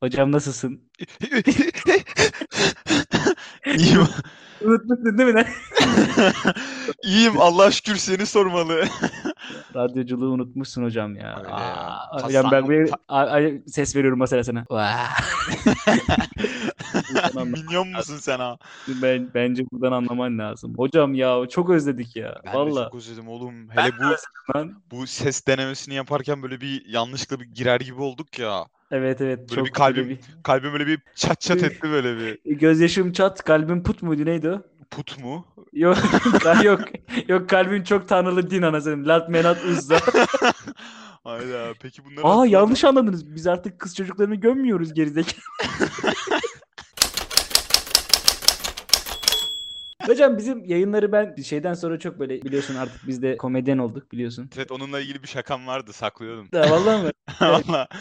Hocam nasılsın? İyiyim. Unutmuşsun değil mi lan? İyiyim. Allah şükür seni sormalı. Radyoculuğu unutmuşsun hocam ya. Öyle ya. Aa, Tas- hocam ben bir ta- Ay- ay- ses veriyorum mesela sana. Vaa. Buradan anla- Minyon musun sen ha? ben, bence buradan anlaman lazım. Hocam ya çok özledik ya. Ben de Valla. çok özledim oğlum. Ben Hele de bu özledim lan. bu ses denemesini yaparken böyle bir yanlışlıkla bir girer gibi olduk ya. Evet evet. Böyle bir çok böyle kalbim- Kalbim böyle bir çat çat Üf. etti böyle bir. bir- Gözyaşım çat kalbim put muydu neydi o? Put mu? Yok yok yok kalbim çok tanrılı din anasını. Lat menat uzza. Hayda. Peki bunları Aa hatırladın yanlış anladınız. Biz artık kız çocuklarını gömmüyoruz gerizekalı. Hocam bizim yayınları ben şeyden sonra çok böyle biliyorsun artık biz de komedyen olduk biliyorsun. Evet onunla ilgili bir şakam vardı saklıyordum. Ya vallahi mi? Valla.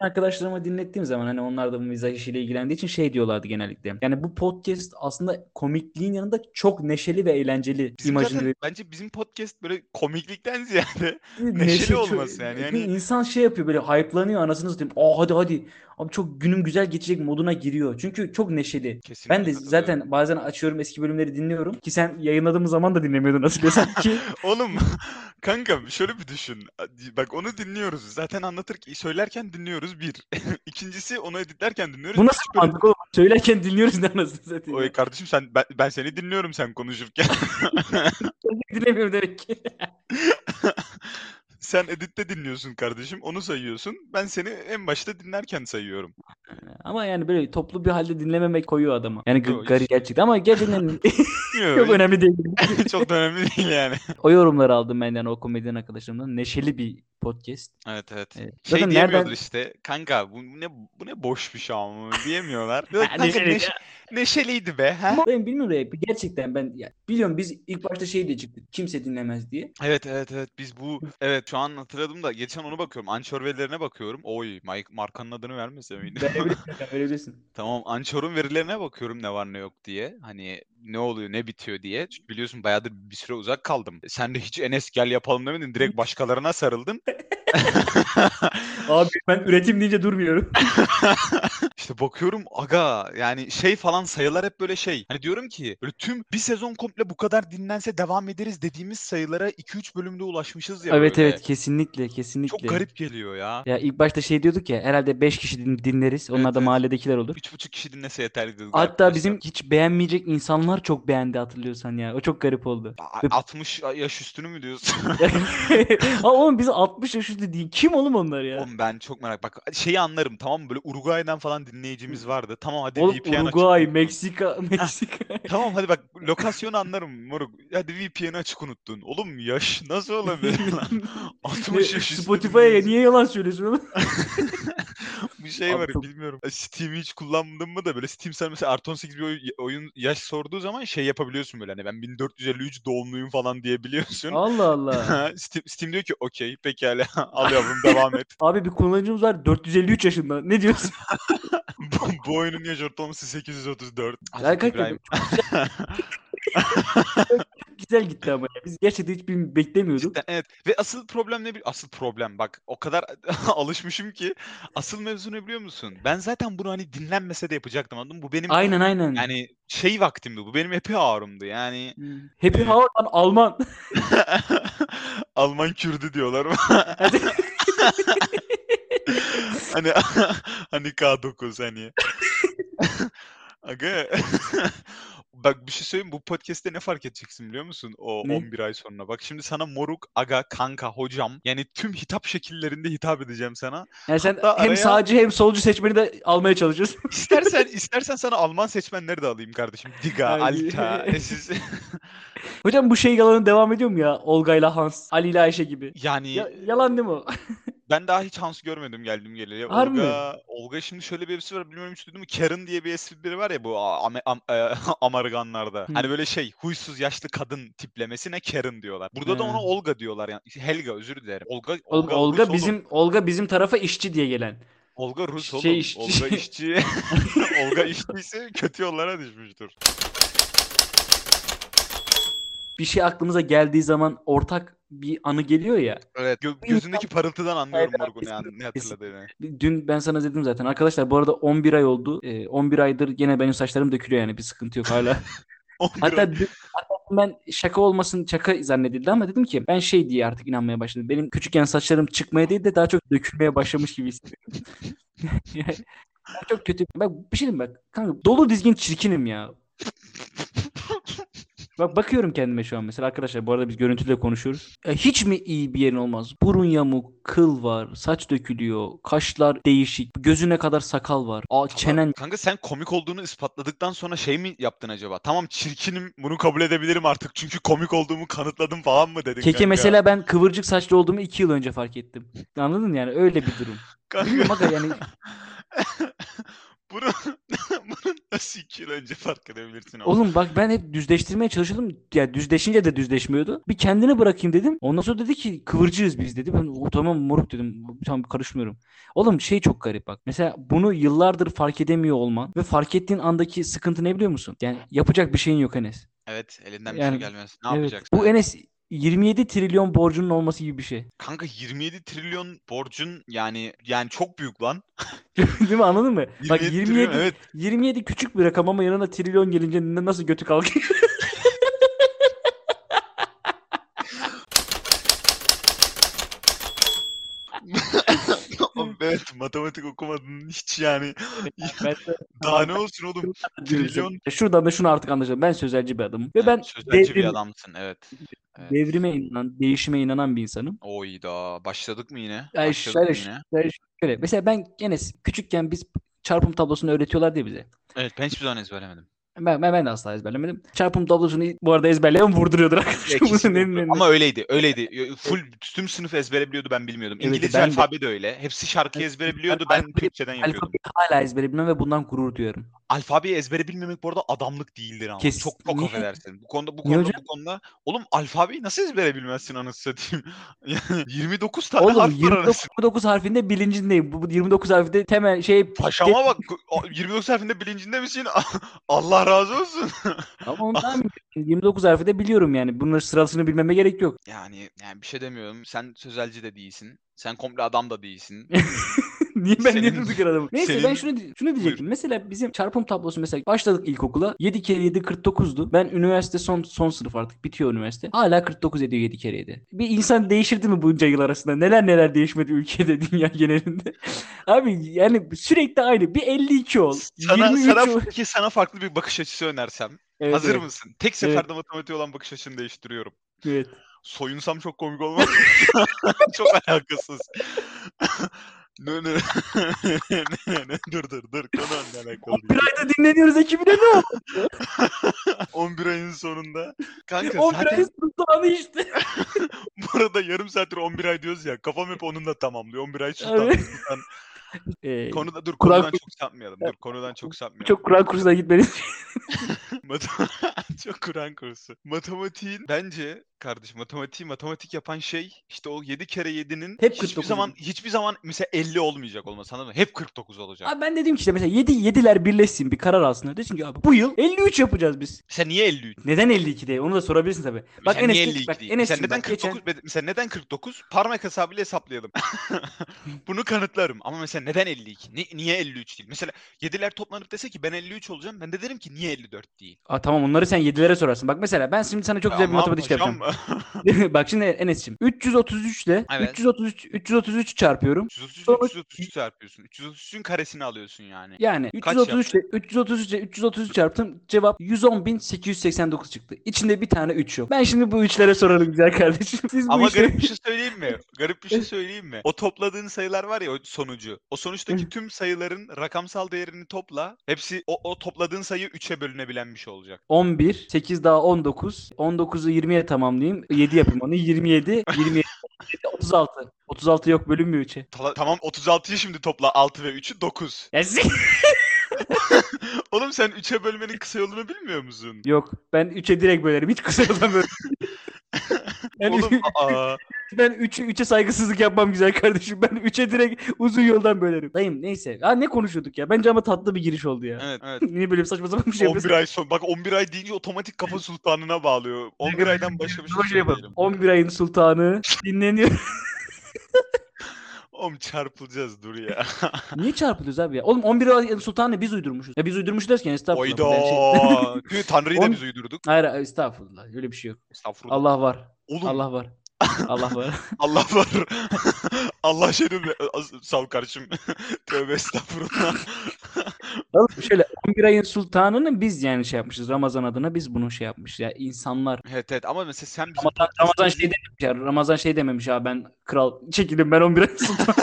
Arkadaşlarıma dinlettiğim zaman hani onlar da bu mizah işiyle ilgilendiği için şey diyorlardı genellikle. Yani bu podcast aslında komikliğin yanında çok neşeli ve eğlenceli Bizim imajını zaten- veriyor. bence bizim podcast böyle komiklikten ziyade Neşe Neşeli çok- olması yani. Yani- insan şey yapıyor böyle hype'lanıyor anasını satayım. Aa hadi hadi. Abi çok günüm güzel geçecek moduna giriyor. Çünkü çok neşeli. kesinlikle Ben de katılıyorum. zaten bazen açıyorum eski bölümleri dinliyorum ki sen yayınladığım zaman da dinlemiyordun hatırlıyorsan ki Oğlum kanka şöyle bir düşün. Bak onu dinliyoruz. Zaten anlatır söylerken dinliyoruz bir. İkincisi onu editlerken dinliyoruz. bu Üç nasıl böyle- mantık oğlum? Söylerken dinliyoruz ne anasını satayım. Oy ya. kardeşim sen ben, ben seni dinliyorum sen konuşurken. Dinlemiyorum demek ki. sen editte dinliyorsun kardeşim. Onu sayıyorsun. Ben seni en başta dinlerken sayıyorum. Ama yani böyle toplu bir halde dinlememek koyuyor adama. Yani g- Yo, hiç- garip gerçekten ama gerçekten çok Yok, önemli değil. çok da önemli değil yani. O yorumları aldım benden o komedyen arkadaşlarımdan. Neşeli bir podcast. Evet evet. Evet. Şey Zaten diyemiyordur nereden- işte. Kanka bu ne bu ne boş bir şey ama diyemiyorlar. Yok, kanka, Neşeli- neşe- neşeliydi be. He? Ama Ben bilmiyorum ya gerçekten ben ya biliyorum biz ilk başta şey diye çıktık kimse dinlemez diye. Evet evet evet biz bu evet şu an hatırladım da geçen onu bakıyorum. Ançor verilerine bakıyorum. Oy Mike markanın adını vermese miydi? Verebilirsin sen, verebilirsin. Tamam Ançor'un verilerine bakıyorum ne var ne yok diye. Hani ne oluyor ne bitiyor diye. Çünkü biliyorsun bayağıdır bir süre uzak kaldım. Sen de hiç Enes gel yapalım demedin. Direkt başkalarına sarıldın. Abi ben üretim deyince durmuyorum. İşte bakıyorum aga yani şey falan sayılar hep böyle şey. Hani diyorum ki böyle tüm bir sezon komple bu kadar dinlense devam ederiz dediğimiz sayılara 2-3 bölümde ulaşmışız ya evet böyle. evet kesinlikle kesinlikle. Çok garip geliyor ya. Ya ilk başta şey diyorduk ya herhalde 5 kişi din- dinleriz. Onlar Evet, da evet. mahalledekiler olur. 3,5 kişi dinlese yeterli dedik Hatta arkadaşlar. bizim hiç beğenmeyecek insanlar çok beğendi hatırlıyorsan ya. O çok garip oldu. A- 60 yaş üstünü mü diyorsun? Ha oğlum biz 60 yaş üstü değil. Kim oğlum onlar ya? Oğlum ben çok merak bak şeyi anlarım tamam mı? Böyle Uruguay'dan falan dinleyicimiz vardı. Tamam hadi Oğlum VPN açıp Uruguay, unuttun. Meksika, Meksika. Tamam hadi bak lokasyonu anlarım moruk. Hadi VPN açık unuttun. Oğlum yaş nasıl olabilir lan? 60 yaş üstü Spotify'a dinleyici. niye yalan söylüyorsun oğlum? Bir şey Abi var çok- bilmiyorum. Steam'i hiç kullandın mı da böyle Steam sana mesela artı 18 bir oy- oyun yaş sorduğu zaman şey yapabiliyorsun böyle hani ben 1453 doğumluyum falan diyebiliyorsun. Allah Allah. Steam, Steam diyor ki okey pekala al yavrum devam et. Abi bir kullanıcımız var 453 yaşında. Ne diyorsun? bu, bu oyunun yaş ortalaması 834. Ya Hazreti kanka, İbrahim. Güzel gitti ama ya. Biz gerçekten hiç bir- beklemiyorduk. Cidden evet. Ve asıl problem ne? bi- Asıl problem bak o kadar alışmışım ki asıl mevzu ne biliyor musun? Ben zaten bunu hani dinlenmese de yapacaktım anladın mı? Bu benim Aynen aynen. yani şey vaktimdi bu benim happy hour'umdu yani. Hmm. Happy Hour'dan Alman. Alman Kürdü diyorlar. hani hani K9 hani. Aga bak bir şey söyleyeyim bu podcast'te ne fark edeceksin biliyor musun? O Ne? 11 ay sonra. Bak şimdi sana moruk, aga, kanka, hocam yani tüm hitap şekillerinde hitap edeceğim sana. Yani sen Hatta hem araya- sağcı hem solcu seçmeni de almaya çalışıyorsun. İstersen istersen sana Alman seçmenleri de alayım kardeşim. Diga, Ay. Alta, Esiz. Hocam bu şey yalanı devam ediyor mu ya? Olga ile Hans, Ali ile Ayşe gibi. Yani Ya- yalan değil mi o? Ben daha hiç Hans görmedim geldim geleli. Harbi mi? Olga, Olga şimdi şöyle bir espri var bilmiyorum hiç duydun mu? Karen diye bir espri var ya bu A- Am- Am- e, Amerikanlarda. Hı. Hani böyle şey huysuz yaşlı kadın tiplemesine Karen diyorlar. Burada da ona He. Olga diyorlar yani. Helga özür dilerim. Olga Oğlum, Olga, Olga Rus oğlum. bizim Olga bizim tarafa işçi diye gelen. Olga Rus şey oğlum. işçi. Olga işçi. Olga işçiyse kötü yollara düşmüştür. bir şey aklımıza geldiği zaman ortak bir anı geliyor ya. Evet. gö- gözündeki parıltıdan anlıyorum Morgun ne, an- ne hatırladığını. Dün ben sana dedim zaten. Arkadaşlar bu arada 11 ay oldu. Ee, 11 aydır gene benim saçlarım dökülüyor yani bir sıkıntı yok hala. Hatta, dün- hatta ben şaka olmasın şaka zannedildi ama dedim ki ben şey diye artık inanmaya başladım. Benim küçükken saçlarım çıkmaya değil de daha çok dökülmeye başlamış gibi hissediyorum. Yani ben çok kötü. Bak bir şey diyeyim bak. Kanka dolu dizgin çirkinim ya. Bak bakıyorum kendime şu an mesela arkadaşlar bu arada biz görüntüyle konuşuyoruz. E, hiç mi iyi bir yerin olmaz? Burun yamuk, kıl var, saç dökülüyor, kaşlar değişik, gözüne kadar sakal var. Aa çenen Kanka sen komik olduğunu ispatladıktan sonra şey mi yaptın acaba? Tamam çirkinim bunu kabul edebilirim artık çünkü komik olduğumu kanıtladım falan mı dedin Keke kanka? mesela ben kıvırcık saçlı olduğumu 2 yıl önce fark ettim. Anladın yani öyle bir durum. Kanka Bilmiyorum aga yani bunu, bunu nasıl iki yıl önce fark edebilirsin oğlum? oğlum bak ben hep düzleştirmeye çalışıyordum. Ya düzleşince de düzleşmiyordu. Bir kendini bırakayım dedim. Ondan sonra dedi ki kıvırcığız biz dedi. Ben o tamam moruk dedim. Tamam karışmıyorum. Oğlum şey çok garip bak. Mesela bunu yıllardır fark edemiyor olman ve fark ettiğin andaki sıkıntı ne biliyor musun? Yani yapacak bir şeyin yok Enes. Evet elinden bir Yani, şey gelmez. Ne Evet. yapacaksın? Bu Enes 27 trilyon borcunun olması gibi bir şey. Kanka 27 trilyon borcun yani yani çok büyük lan. Değil mi anladın mı? Bak 27 trilyon, 27 evet. 27 küçük bir rakam ama yanına trilyon gelince ne- nasıl götü kalkıyor? Oğlum, evet matematik okumadın hiç yani. Ben- Daha ne olsun oğlum? Trilyon. Şuradan da şunu artık anlaşalım. Ben sözelci bir adamım. Ve Evet, ben sözelci bir devrim- adamsın evet. Evet. devrime inanan, değişime inanan bir insanım. Oyda başladık mı yine? Ay, Başladık mı şöyle- yine? Yani şöyle, mesela ben gene küçükken biz çarpım tablosunu öğretiyorlar diye bize. Evet ben hiçbir zaman ezberlemedim. Ben, ben, ben de asla ezberlemedim. Çarpım tablosunu bu arada ezberleyen vurduruyordur arkadaşlar. Bunu Kesin ne- ne- ne- Ama öyleydi, öyleydi. Full tüm sınıf ezbere biliyordu ben bilmiyordum. Evet, İngilizce ben de- alfabe de öyle. Hepsi şarkıyı ezbere biliyordu ben ben alfabe- Türkçeden yapıyordum. Alfabeyi hala ezbere bilmem ve bundan gurur duyuyorum. Alfabeyi ezbere bilmemek bu arada adamlık değildir ama. Kes- Çok çok Niye? affedersin. Bu konuda bu Niye konuda hocam? bu konuda. Oğlum alfabeyi nasıl ezbere bilmezsin anasını satayım? Yani 29 tane Oğlum harf var 29, arasında. 29 harfinde bilincindeyim. Bu bu 29 harfinde temel şey Paşama bak. o 29 harfinde bilincinde misin? Allah razı olsun. Ama ondan 29 harfi de biliyorum yani. Bunların sırasını bilmeme gerek yok. Yani yani bir şey demiyorum. Sen sözelci de değilsin. Sen komple adam da değilsin. Niye ben niye Senin- durduk yere adamım? Neyse senin- ben şunu di- şunu diyecektim. Mesela bizim çarpım tablosu mesela başladık ilkokula. 7 kere 7 49'du. Ben üniversite son son sınıf artık bitiyor üniversite. Hala 49 ediyor 7 kere 7. Bir insan değişirdi mi bunca yıl arasında? Neler neler değişmedi ülkede dünya genelinde. Abi yani sürekli aynı. Bir 52 ol. Sana 23 sana, ol. peki sana farklı bir bakış açısı önersem. Evet, Hazır evet, mısın? Tek seferde matematiğe olan bakış açını değiştiriyorum. Evet. Soyunsam çok komik olmaz. çok alakasız. Nö, nö. Nö, nö. dur dur dur. Konu onunla alakalı Bir değil. ayda dinleniyoruz ekibine ne oldu? 11 ayın sonunda. Kanka 11 zaten ayın sultanı işte. bu arada yarım saattir 11 ay diyoruz ya. Kafam hep onunla tamamlıyor. 11 ay sultan. Abi. sultan. Ee, Konuda dur Kur'an konudan kursu- çok sapmayalım. Dur konudan çok sapmayalım. çok Kur'an kursuna gitmeniz Matem- Çok Kur'an kursu. Matematiğin bence kardeş matematiği matematik yapan şey işte o 7 kere 7'nin Hep hiçbir 49 zaman hiçbir zaman mesela 50 olmayacak olması anladın mı? Hep 49 olacak. Abi ben dedim ki işte mesela 7 7'ler birleşsin bir karar alsınlar. Desin ki abi bu yıl 53 yapacağız biz. Sen niye 53? Neden 52 değil? Onu da sorabilirsin tabii. Bak sen Enes niye geç- 52 bak değil? Enes sen neden bak geçen 49? be- Mesela neden 49? Parmak hesabıyla hesaplayalım. Bunu kanıtlarım. Ama mesela neden 52? Ni- niye 53 değil? Mesela 7'ler toplanıp dese ki ben 53 olacağım. Ben de derim ki niye 54 değil? Aa, tamam onları sen 7'lere sorarsın. Bak mesela ben şimdi sana çok güzel bir Ama matematik yapacağım. hocam, bak şimdi Enes'cim 333 ile Evet. 333 333 çarpıyorum. 333 Sonuç- 333 çarpıyorsun. 333'ün karesini alıyorsun yani. Yani Kaç 333 ile 333 ile 333 çarptım. Cevap 110.889 çıktı. İçinde bir tane 3 yok. Ben şimdi bu 3'lere sorarım güzel kardeşim. Siz bu Ama işleri- garip bir şey söyleyeyim mi? Garip bir şey söyleyeyim mi? O topladığın sayılar var ya o sonucu. O sonuçtaki tüm sayıların rakamsal değerini topla. Hepsi o, o topladığın sayı 3'e bölünebilen bir şey olacak. 11, 8 daha 19. 19'u 20'ye tamamlayayım. 7 yapayım onu. 27, 27, 36. 36 yok bölünmüyor 3'e. Tala- tamam 36'yı şimdi topla 6 ve 3'ü 9. Ya sik- Oğlum sen 3'e bölmenin kısa yolunu bilmiyor musun? Yok ben 3'e direkt bölerim. Hiç kısa yoldan bölerim. Yani Oğlum aa. Ben 3'e 3'e saygısızlık yapmam güzel kardeşim. Ben 3'e direkt uzun yoldan bölerim. Dayım neyse. Ha ne konuşuyorduk ya? Bence ama tatlı bir giriş oldu ya. Evet evet. Niye böyle bir saçma sapan bir şey 11 yapıyorsun? ay son. Bak 11 ay deyince otomatik kafa sultanına bağlıyor. 11 aydan başka bir şey Şöyle yapalım. söyleyelim. 11 ayın sultanı dinleniyor. Oğlum çarpılacağız dur ya. Niye çarpılıyoruz abi ya? Oğlum 11 ayın sultanı biz uydurmuşuz. Ya biz uydurmuşuz derken estağfurullah. bu yani şey- Oyda. Tüh, Tanrı'yı da On- biz uydurduk. Hayır estağfurullah. Öyle bir şey yok. Estağfurullah. Allah var. Oğlum Allah, Allah var. Allah var. var. Allah şerif sav karşım. Tövbe estağfurullah. Oğlum şöyle 11 ayın sultanını biz yani şey yapmışız. Ramazan adına biz bunu şey yapmış. Ya insanlar. evet evet ama mesela sen bizim Ramazan, Ramazan podcast'imizi- şey dememiş ya. Ramazan şey dememiş abi ben kral. Çekilin ben 11 ayın sultanı.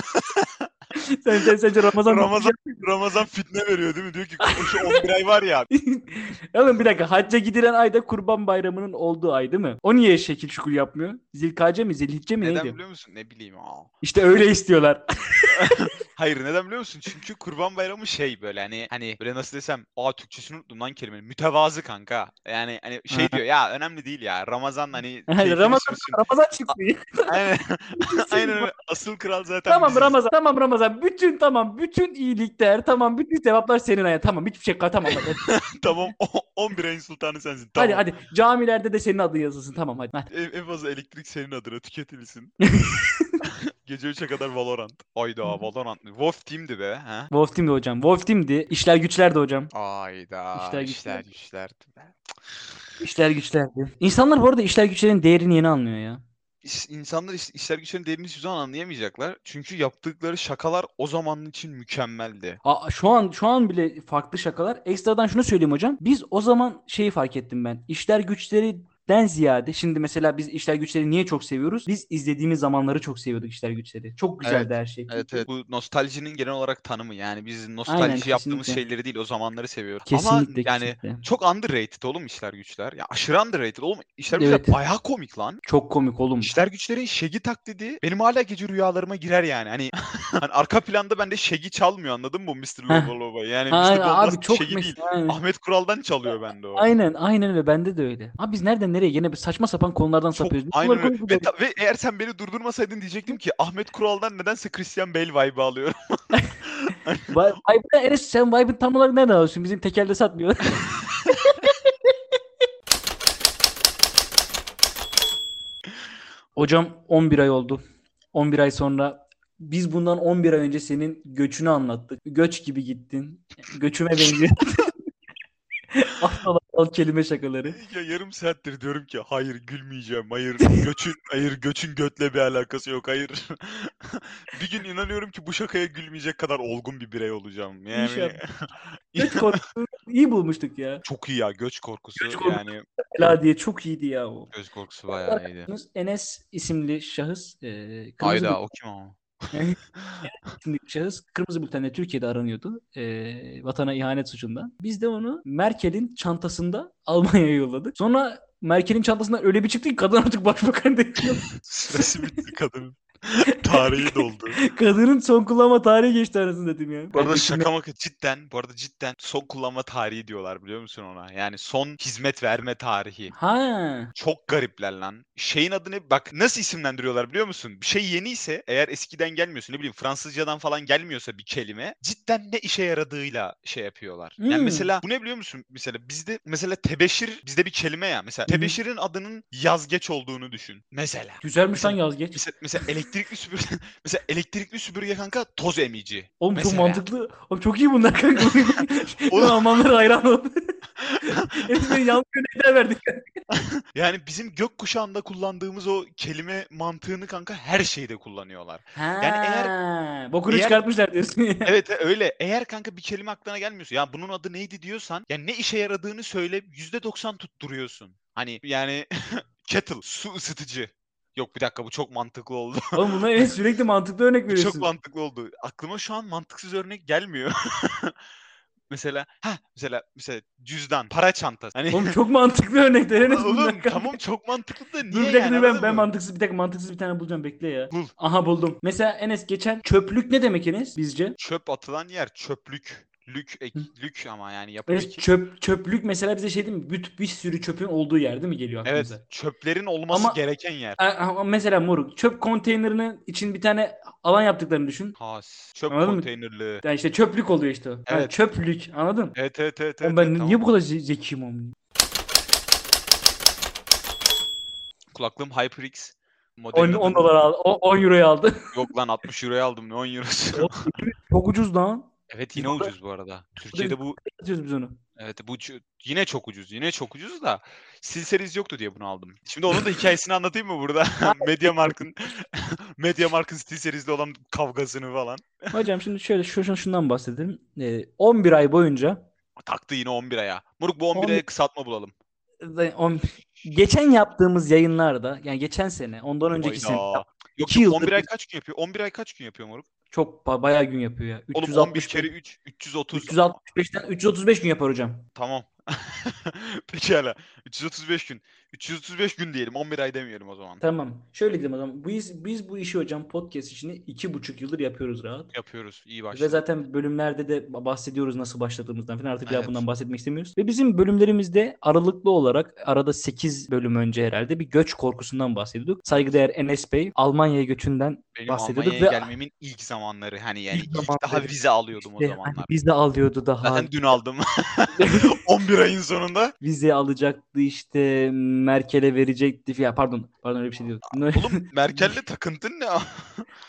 sen, sen, sence Ramazan... Ramazan, Ramazan fitne veriyor değil mi? Diyor ki şu 11 ay var ya. Oğlum bir dakika. Hacca gidilen ayda Kurban Bayramı'nın olduğu ay değil mi? O niye şekil şukul yapmıyor? Zilkace mi? Zilhicce mi? Neden Neydi? biliyor musun? Ne bileyim. Aa. İşte öyle istiyorlar. Hayır neden biliyor musun? Çünkü Kurban Bayramı şey böyle hani hani böyle nasıl desem aa Türkçesini unuttum lan kelimenin. Mütevazı kanka. Yani hani şey Ha. diyor ya önemli değil ya. Ramazan hani keyfini Ramazan, sürsün. Ramazan çıksın. Aynen. Aynen öyle. Asıl kral zaten Tamam biziz. Ramazan, tamam Ramazan. Bütün tamam, bütün iyilikler, tamam, bütün sevaplar senin ayağın. Tamam, hiçbir şey tamam. Hadi, tamam. o- 11 ayın sultanı sensin. Tamam. hadi, hadi. Camilerde de senin adın yazılsın. Tamam, hadi. hadi. En, en fazla elektrik senin adına tüketilsin. Gece 3'e kadar Valorant. Ayda Valorant. mı? Wolf Team'di be. Ha? Wolf Team'di hocam. Wolf Team'di. İşler güçlerdi hocam. Ayda. İşler İşler güçler. güçler. güçlerdi be. İşler güçlerdi. İnsanlar bu arada işler güçlerin değerini yeni anlıyor ya. İş- İnsanlar iş, işler güçlerin değerini hiçbir zaman anlayamayacaklar. Çünkü yaptıkları şakalar o zaman için mükemmeldi. Aa, şu an şu an bile farklı şakalar. Ekstradan şunu söyleyeyim hocam. Biz o zaman şeyi fark ettim ben. İşler güçleri den ziyade şimdi mesela biz işler güçleri niye çok seviyoruz? Biz izlediğimiz zamanları çok seviyorduk işler güçleri. Çok güzeldi Evet, her şey. Evet evet. Bu nostaljinin genel olarak tanımı. Yani biz nostalji yaptığımız kesinlikle. şeyleri değil o zamanları seviyoruz. Kesinlikle Ama yani kesinlikle. çok underrated oğlum işler güçler. Ya aşırı underrated oğlum. İşler güçler Evet. bayağı komik lan. Çok komik oğlum. İşler güçlerin Şegi taklidi benim hala gece rüyalarıma girer yani. Hani, hani arka planda bende Şegi çalmıyor anladın mı Mr. Lobo Lobo? Yani Ha, Mr. Bombast abi çok Şegi şey değil. Ah, mesela. aynen. Ahmet Kural'dan çalıyor bende o. Aynen aynen öyle bende de öyle. Abi biz nereden nereye gene bir saçma sapan konulardan Çok, sapıyoruz. Bunlar aynen öyle. komik Ve, oluyor. ta- ve eğer sen beni durdurmasaydın diyecektim ki Ahmet Kural'dan nedense Christian Bale vibe alıyorum. Vay- Vibe'den Enes sen Vibe'ın tam olarak nereden alıyorsun? Bizim tekelde satmıyor. Hocam 11 ay oldu. 11 ay sonra biz bundan 11 ay önce senin göçünü anlattık. Göç gibi gittin. Göçüme benziyor. Aptal aptal kelime şakaları. ya yarım saattir diyorum ki hayır gülmeyeceğim. Hayır göçün hayır göçün götle bir alakası yok. Hayır. bir gün inanıyorum ki bu şakaya gülmeyecek kadar olgun bir birey olacağım. Yani İnşallah. Göç korkusunu iyi bulmuştuk ya. çok iyi ya göç korkusu. Göç korkusu. Yani Ela diye çok iyiydi ya o. Göz korkusu bayağı iyiydi. Yalnız Enes isimli şahıs, e, kırmızı Ayda o kim ama? bülten- isimli şahıs kırmızı bültenle Türkiye'de aranıyordu e, vatana ihanet suçundan. Biz de onu Merkel'in çantasında Almanya'ya yolladık. Sonra Merkel'in çantasından öyle bir çıktı ki kadın artık başbakan değil. Süresi bitti kadının. Tarihi doldu. Kadının son kullanma tarihi geçti arasında dedim ya. Bu arada şaka maka cidden, bu arada cidden son kullanma tarihi diyorlar biliyor musun ona? Yani son hizmet verme tarihi. Ha. Çok garipler lan. Şeyin adını bak nasıl isimlendiriyorlar biliyor musun? Bir şey yeni ise eğer eskiden gelmiyorsa ne bileyim Fransızcadan falan gelmiyorsa bir kelime cidden ne işe yaradığıyla şey yapıyorlar. Yani Hmm. mesela bu ne biliyor musun? Mesela bizde mesela tebeşir bizde bir kelime ya. Mesela Hı hı. tebeşirin adının yazgeç olduğunu düşün. Mesela. Güzelmiş lan yaz geç. Mesela, mesela elektrikli süpürge mesela elektrikli süpürge kanka toz emici. Oğlum mesela. çok mantıklı. Oğlum çok iyi bunlar kanka. Oğlum. Oğlum. Almanlara hayran oldu. Enes beni yanlış yönetime verdi. Yani bizim gökkuşağında kullandığımız o kelime mantığını kanka her şeyde kullanıyorlar. Yani eğer- eğer bokunu eğer- çıkartmışlar diyorsun. ya. Evet e, öyle. Eğer kanka bir kelime aklına gelmiyorsa ya bunun adı neydi diyorsan ya ne işe yaradığını söyle %90 tutturuyorsun. Hani yani kettle su ısıtıcı. Yok bir dakika bu çok mantıklı oldu. Oğlum bunlar en sürekli mantıklı örnek Bu veriyorsun. çok mantıklı oldu. Aklıma şu an mantıksız örnek gelmiyor. mesela ha mesela mesela cüzdan, para çantası. Hani Oğlum çok mantıklı örnekler Enes Oğlum bunlar kanka. tamam çok mantıklı da Dur niye bir dakika yani dur ben, anladın ben mı? mantıksız bir dakika mantıksız bir tane bulacağım bekle ya. Bul. Aha buldum. Mesela Enes geçen çöplük ne demek Enes bizce? Çöp atılan yer çöplük. Lük, ek, lük ama yani yapı Böyle eki. çöp, çöplük mesela bize şey değil mi? Bir, bir sürü çöpün olduğu yer değil mi geliyor Evet aklımıza? çöplerin olması Ama- gereken yer. A- ama Mesela moruk çöp konteynerinin için bir tane alan yaptıklarını düşün. Has. Çöp Anladın mı? konteynerli. Yani işte çöplük oluyor işte o. Ha, Evet. çöplük anladın? Evet evet evet. Oğlum evet, ben evet, niye tamam. bu kadar ze- zekiyim oğlum? Kulaklığım HyperX 10, modeli. 10 dolar aldı. o- 10 euroya aldı. Yok lan 60 euroya aldım ne 10 eurosu. Oğlum, Çok ucuz lan. evet yine Burada- ucuz bu arada. Türkiye'de bu Satıyoruz biz onu. evet bu ç- yine çok ucuz. Yine çok ucuz da silseniz yoktu diye bunu aldım. Şimdi onun da hikayesini anlatayım mı burada? Mediamarkt'ın Mediamarkt'ın Silseriz'de olan kavgasını falan. Hocam şimdi şöyle şu, şu- şundan bahsedelim. Ee, 11 ay boyunca Taktı yine 11 aya. Muruk bu 11 11 aya kısaltma bulalım. e, on- geçen yaptığımız yayınlarda yani geçen sene ondan önceki Hayda. sene Yok İki yok yıldır 11 ay biz- kaç gün yapıyor? 11 ay kaç gün yapıyor Muruk? çok ba- bayağı gün yapıyor ya. Oğlum 11 365 kere 3 330. 365'ten 335 gün yapar hocam. Tamam. Pekala. 335 gün. 335 gün diyelim. 11 ay demeyelim o zaman. Tamam. Şöyle dedim o zaman. Biz, biz bu işi hocam podcast işini iki buçuk yıldır yapıyoruz rahat. Yapıyoruz. İyi Ve başladık. zaten bölümlerde de bahsediyoruz nasıl başladığımızdan falan. Artık bir Evet. daha bundan bahsetmek istemiyoruz. Ve bizim bölümlerimizde aralıklı olarak arada 8 bölüm önce herhalde bir göç korkusundan bahsediyorduk. Saygıdeğer Enes Bey Almanya'ya göçünden Benim bahsediyorduk Almanya'ya ve gelmemin ilk zamanları. Hani yani İlk ilk, daha zamanları. vize alıyordum o işte hani zamanlar. vize alıyordu daha. Zaten dün aldım. 11 ayın sonunda. Vize alacaktı işte Merkel'e verecekti. Ya pardon. Pardon öyle bir şey diyorduk. Oğlum Merkel'le takıntın ne?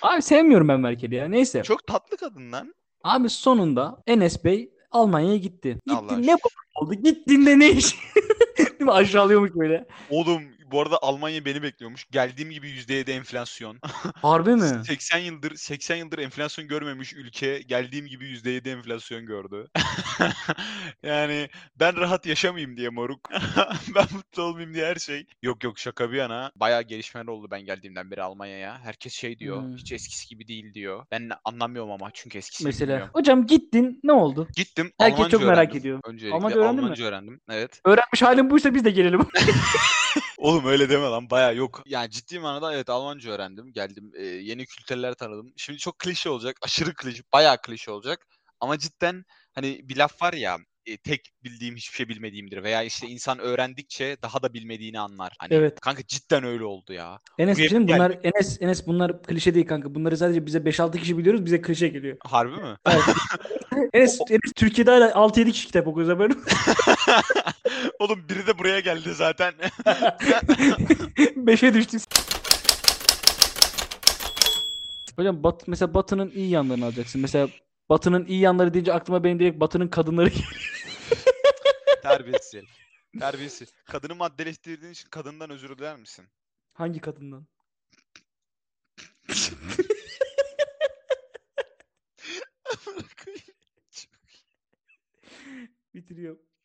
Ah, Abi sevmiyorum ben Merkel'i ya. Neyse. Çok tatlı kadın lan. Abi sonunda Enes Bey Almanya'ya gitti. Gitti Allah'a ne oldu? Gittiğinde ne iş? Değil mi? Aşağılıyormuş böyle. Oğlum bu arada Almanya beni bekliyormuş. Geldiğim gibi %7 enflasyon. Harbi mi? 80 yıldır 80 yıldır enflasyon görmemiş ülke geldiğim gibi %7 enflasyon gördü. yani ben rahat yaşamayayım diye moruk. ben mutlu olmayayım diye her şey. Yok yok şaka bir yana. Bayağı gelişmeler oldu ben geldiğimden beri Almanya'ya. Herkes şey diyor. Hmm. Hiç eskisi gibi değil diyor. Ben anlamıyorum ama çünkü eskisi gibi Mesela. bilmiyorum. Hocam gittin ne oldu? Gittim. Herkes Almanca çok merak öğrendim. ediyor. Öncelikle Almanca öğrendin mi? Almanca öğrendim. Evet. Öğrenmiş halim buysa biz de gelelim. Oğlum öyle deme lan baya yok. Yani ciddi manada evet Almanca öğrendim. Geldim e, yeni kültürler tanıdım. Şimdi çok klişe olacak. Aşırı klişe. Baya klişe olacak. Ama cidden hani bir laf var ya e, tek bildiğim hiçbir şey bilmediğimdir. Veya işte insan öğrendikçe daha da bilmediğini anlar. Hani Evet. kanka cidden öyle oldu ya. Enes Buraya bizim bunlar Enes Enes bunlar klişe değil kanka. Bunları sadece bize 5-6 kişi biliyoruz. Bize klişe geliyor. Harbi mi? Enes, Enes Türkiye'de hala 6-7 kişi kitap okuyoruz haberin. Oğlum biri de buraya geldi zaten. 5'e düştük. Hocam Bat, mesela Batı'nın iyi yanlarını alacaksın. Mesela Batı'nın iyi yanları deyince aklıma benim direkt Batı'nın kadınları Terbiyesiz. herif. Terbiyesiz. Kadını maddeleştirdiğin için kadından özür diler misin? Hangi kadından? Bitiriyor.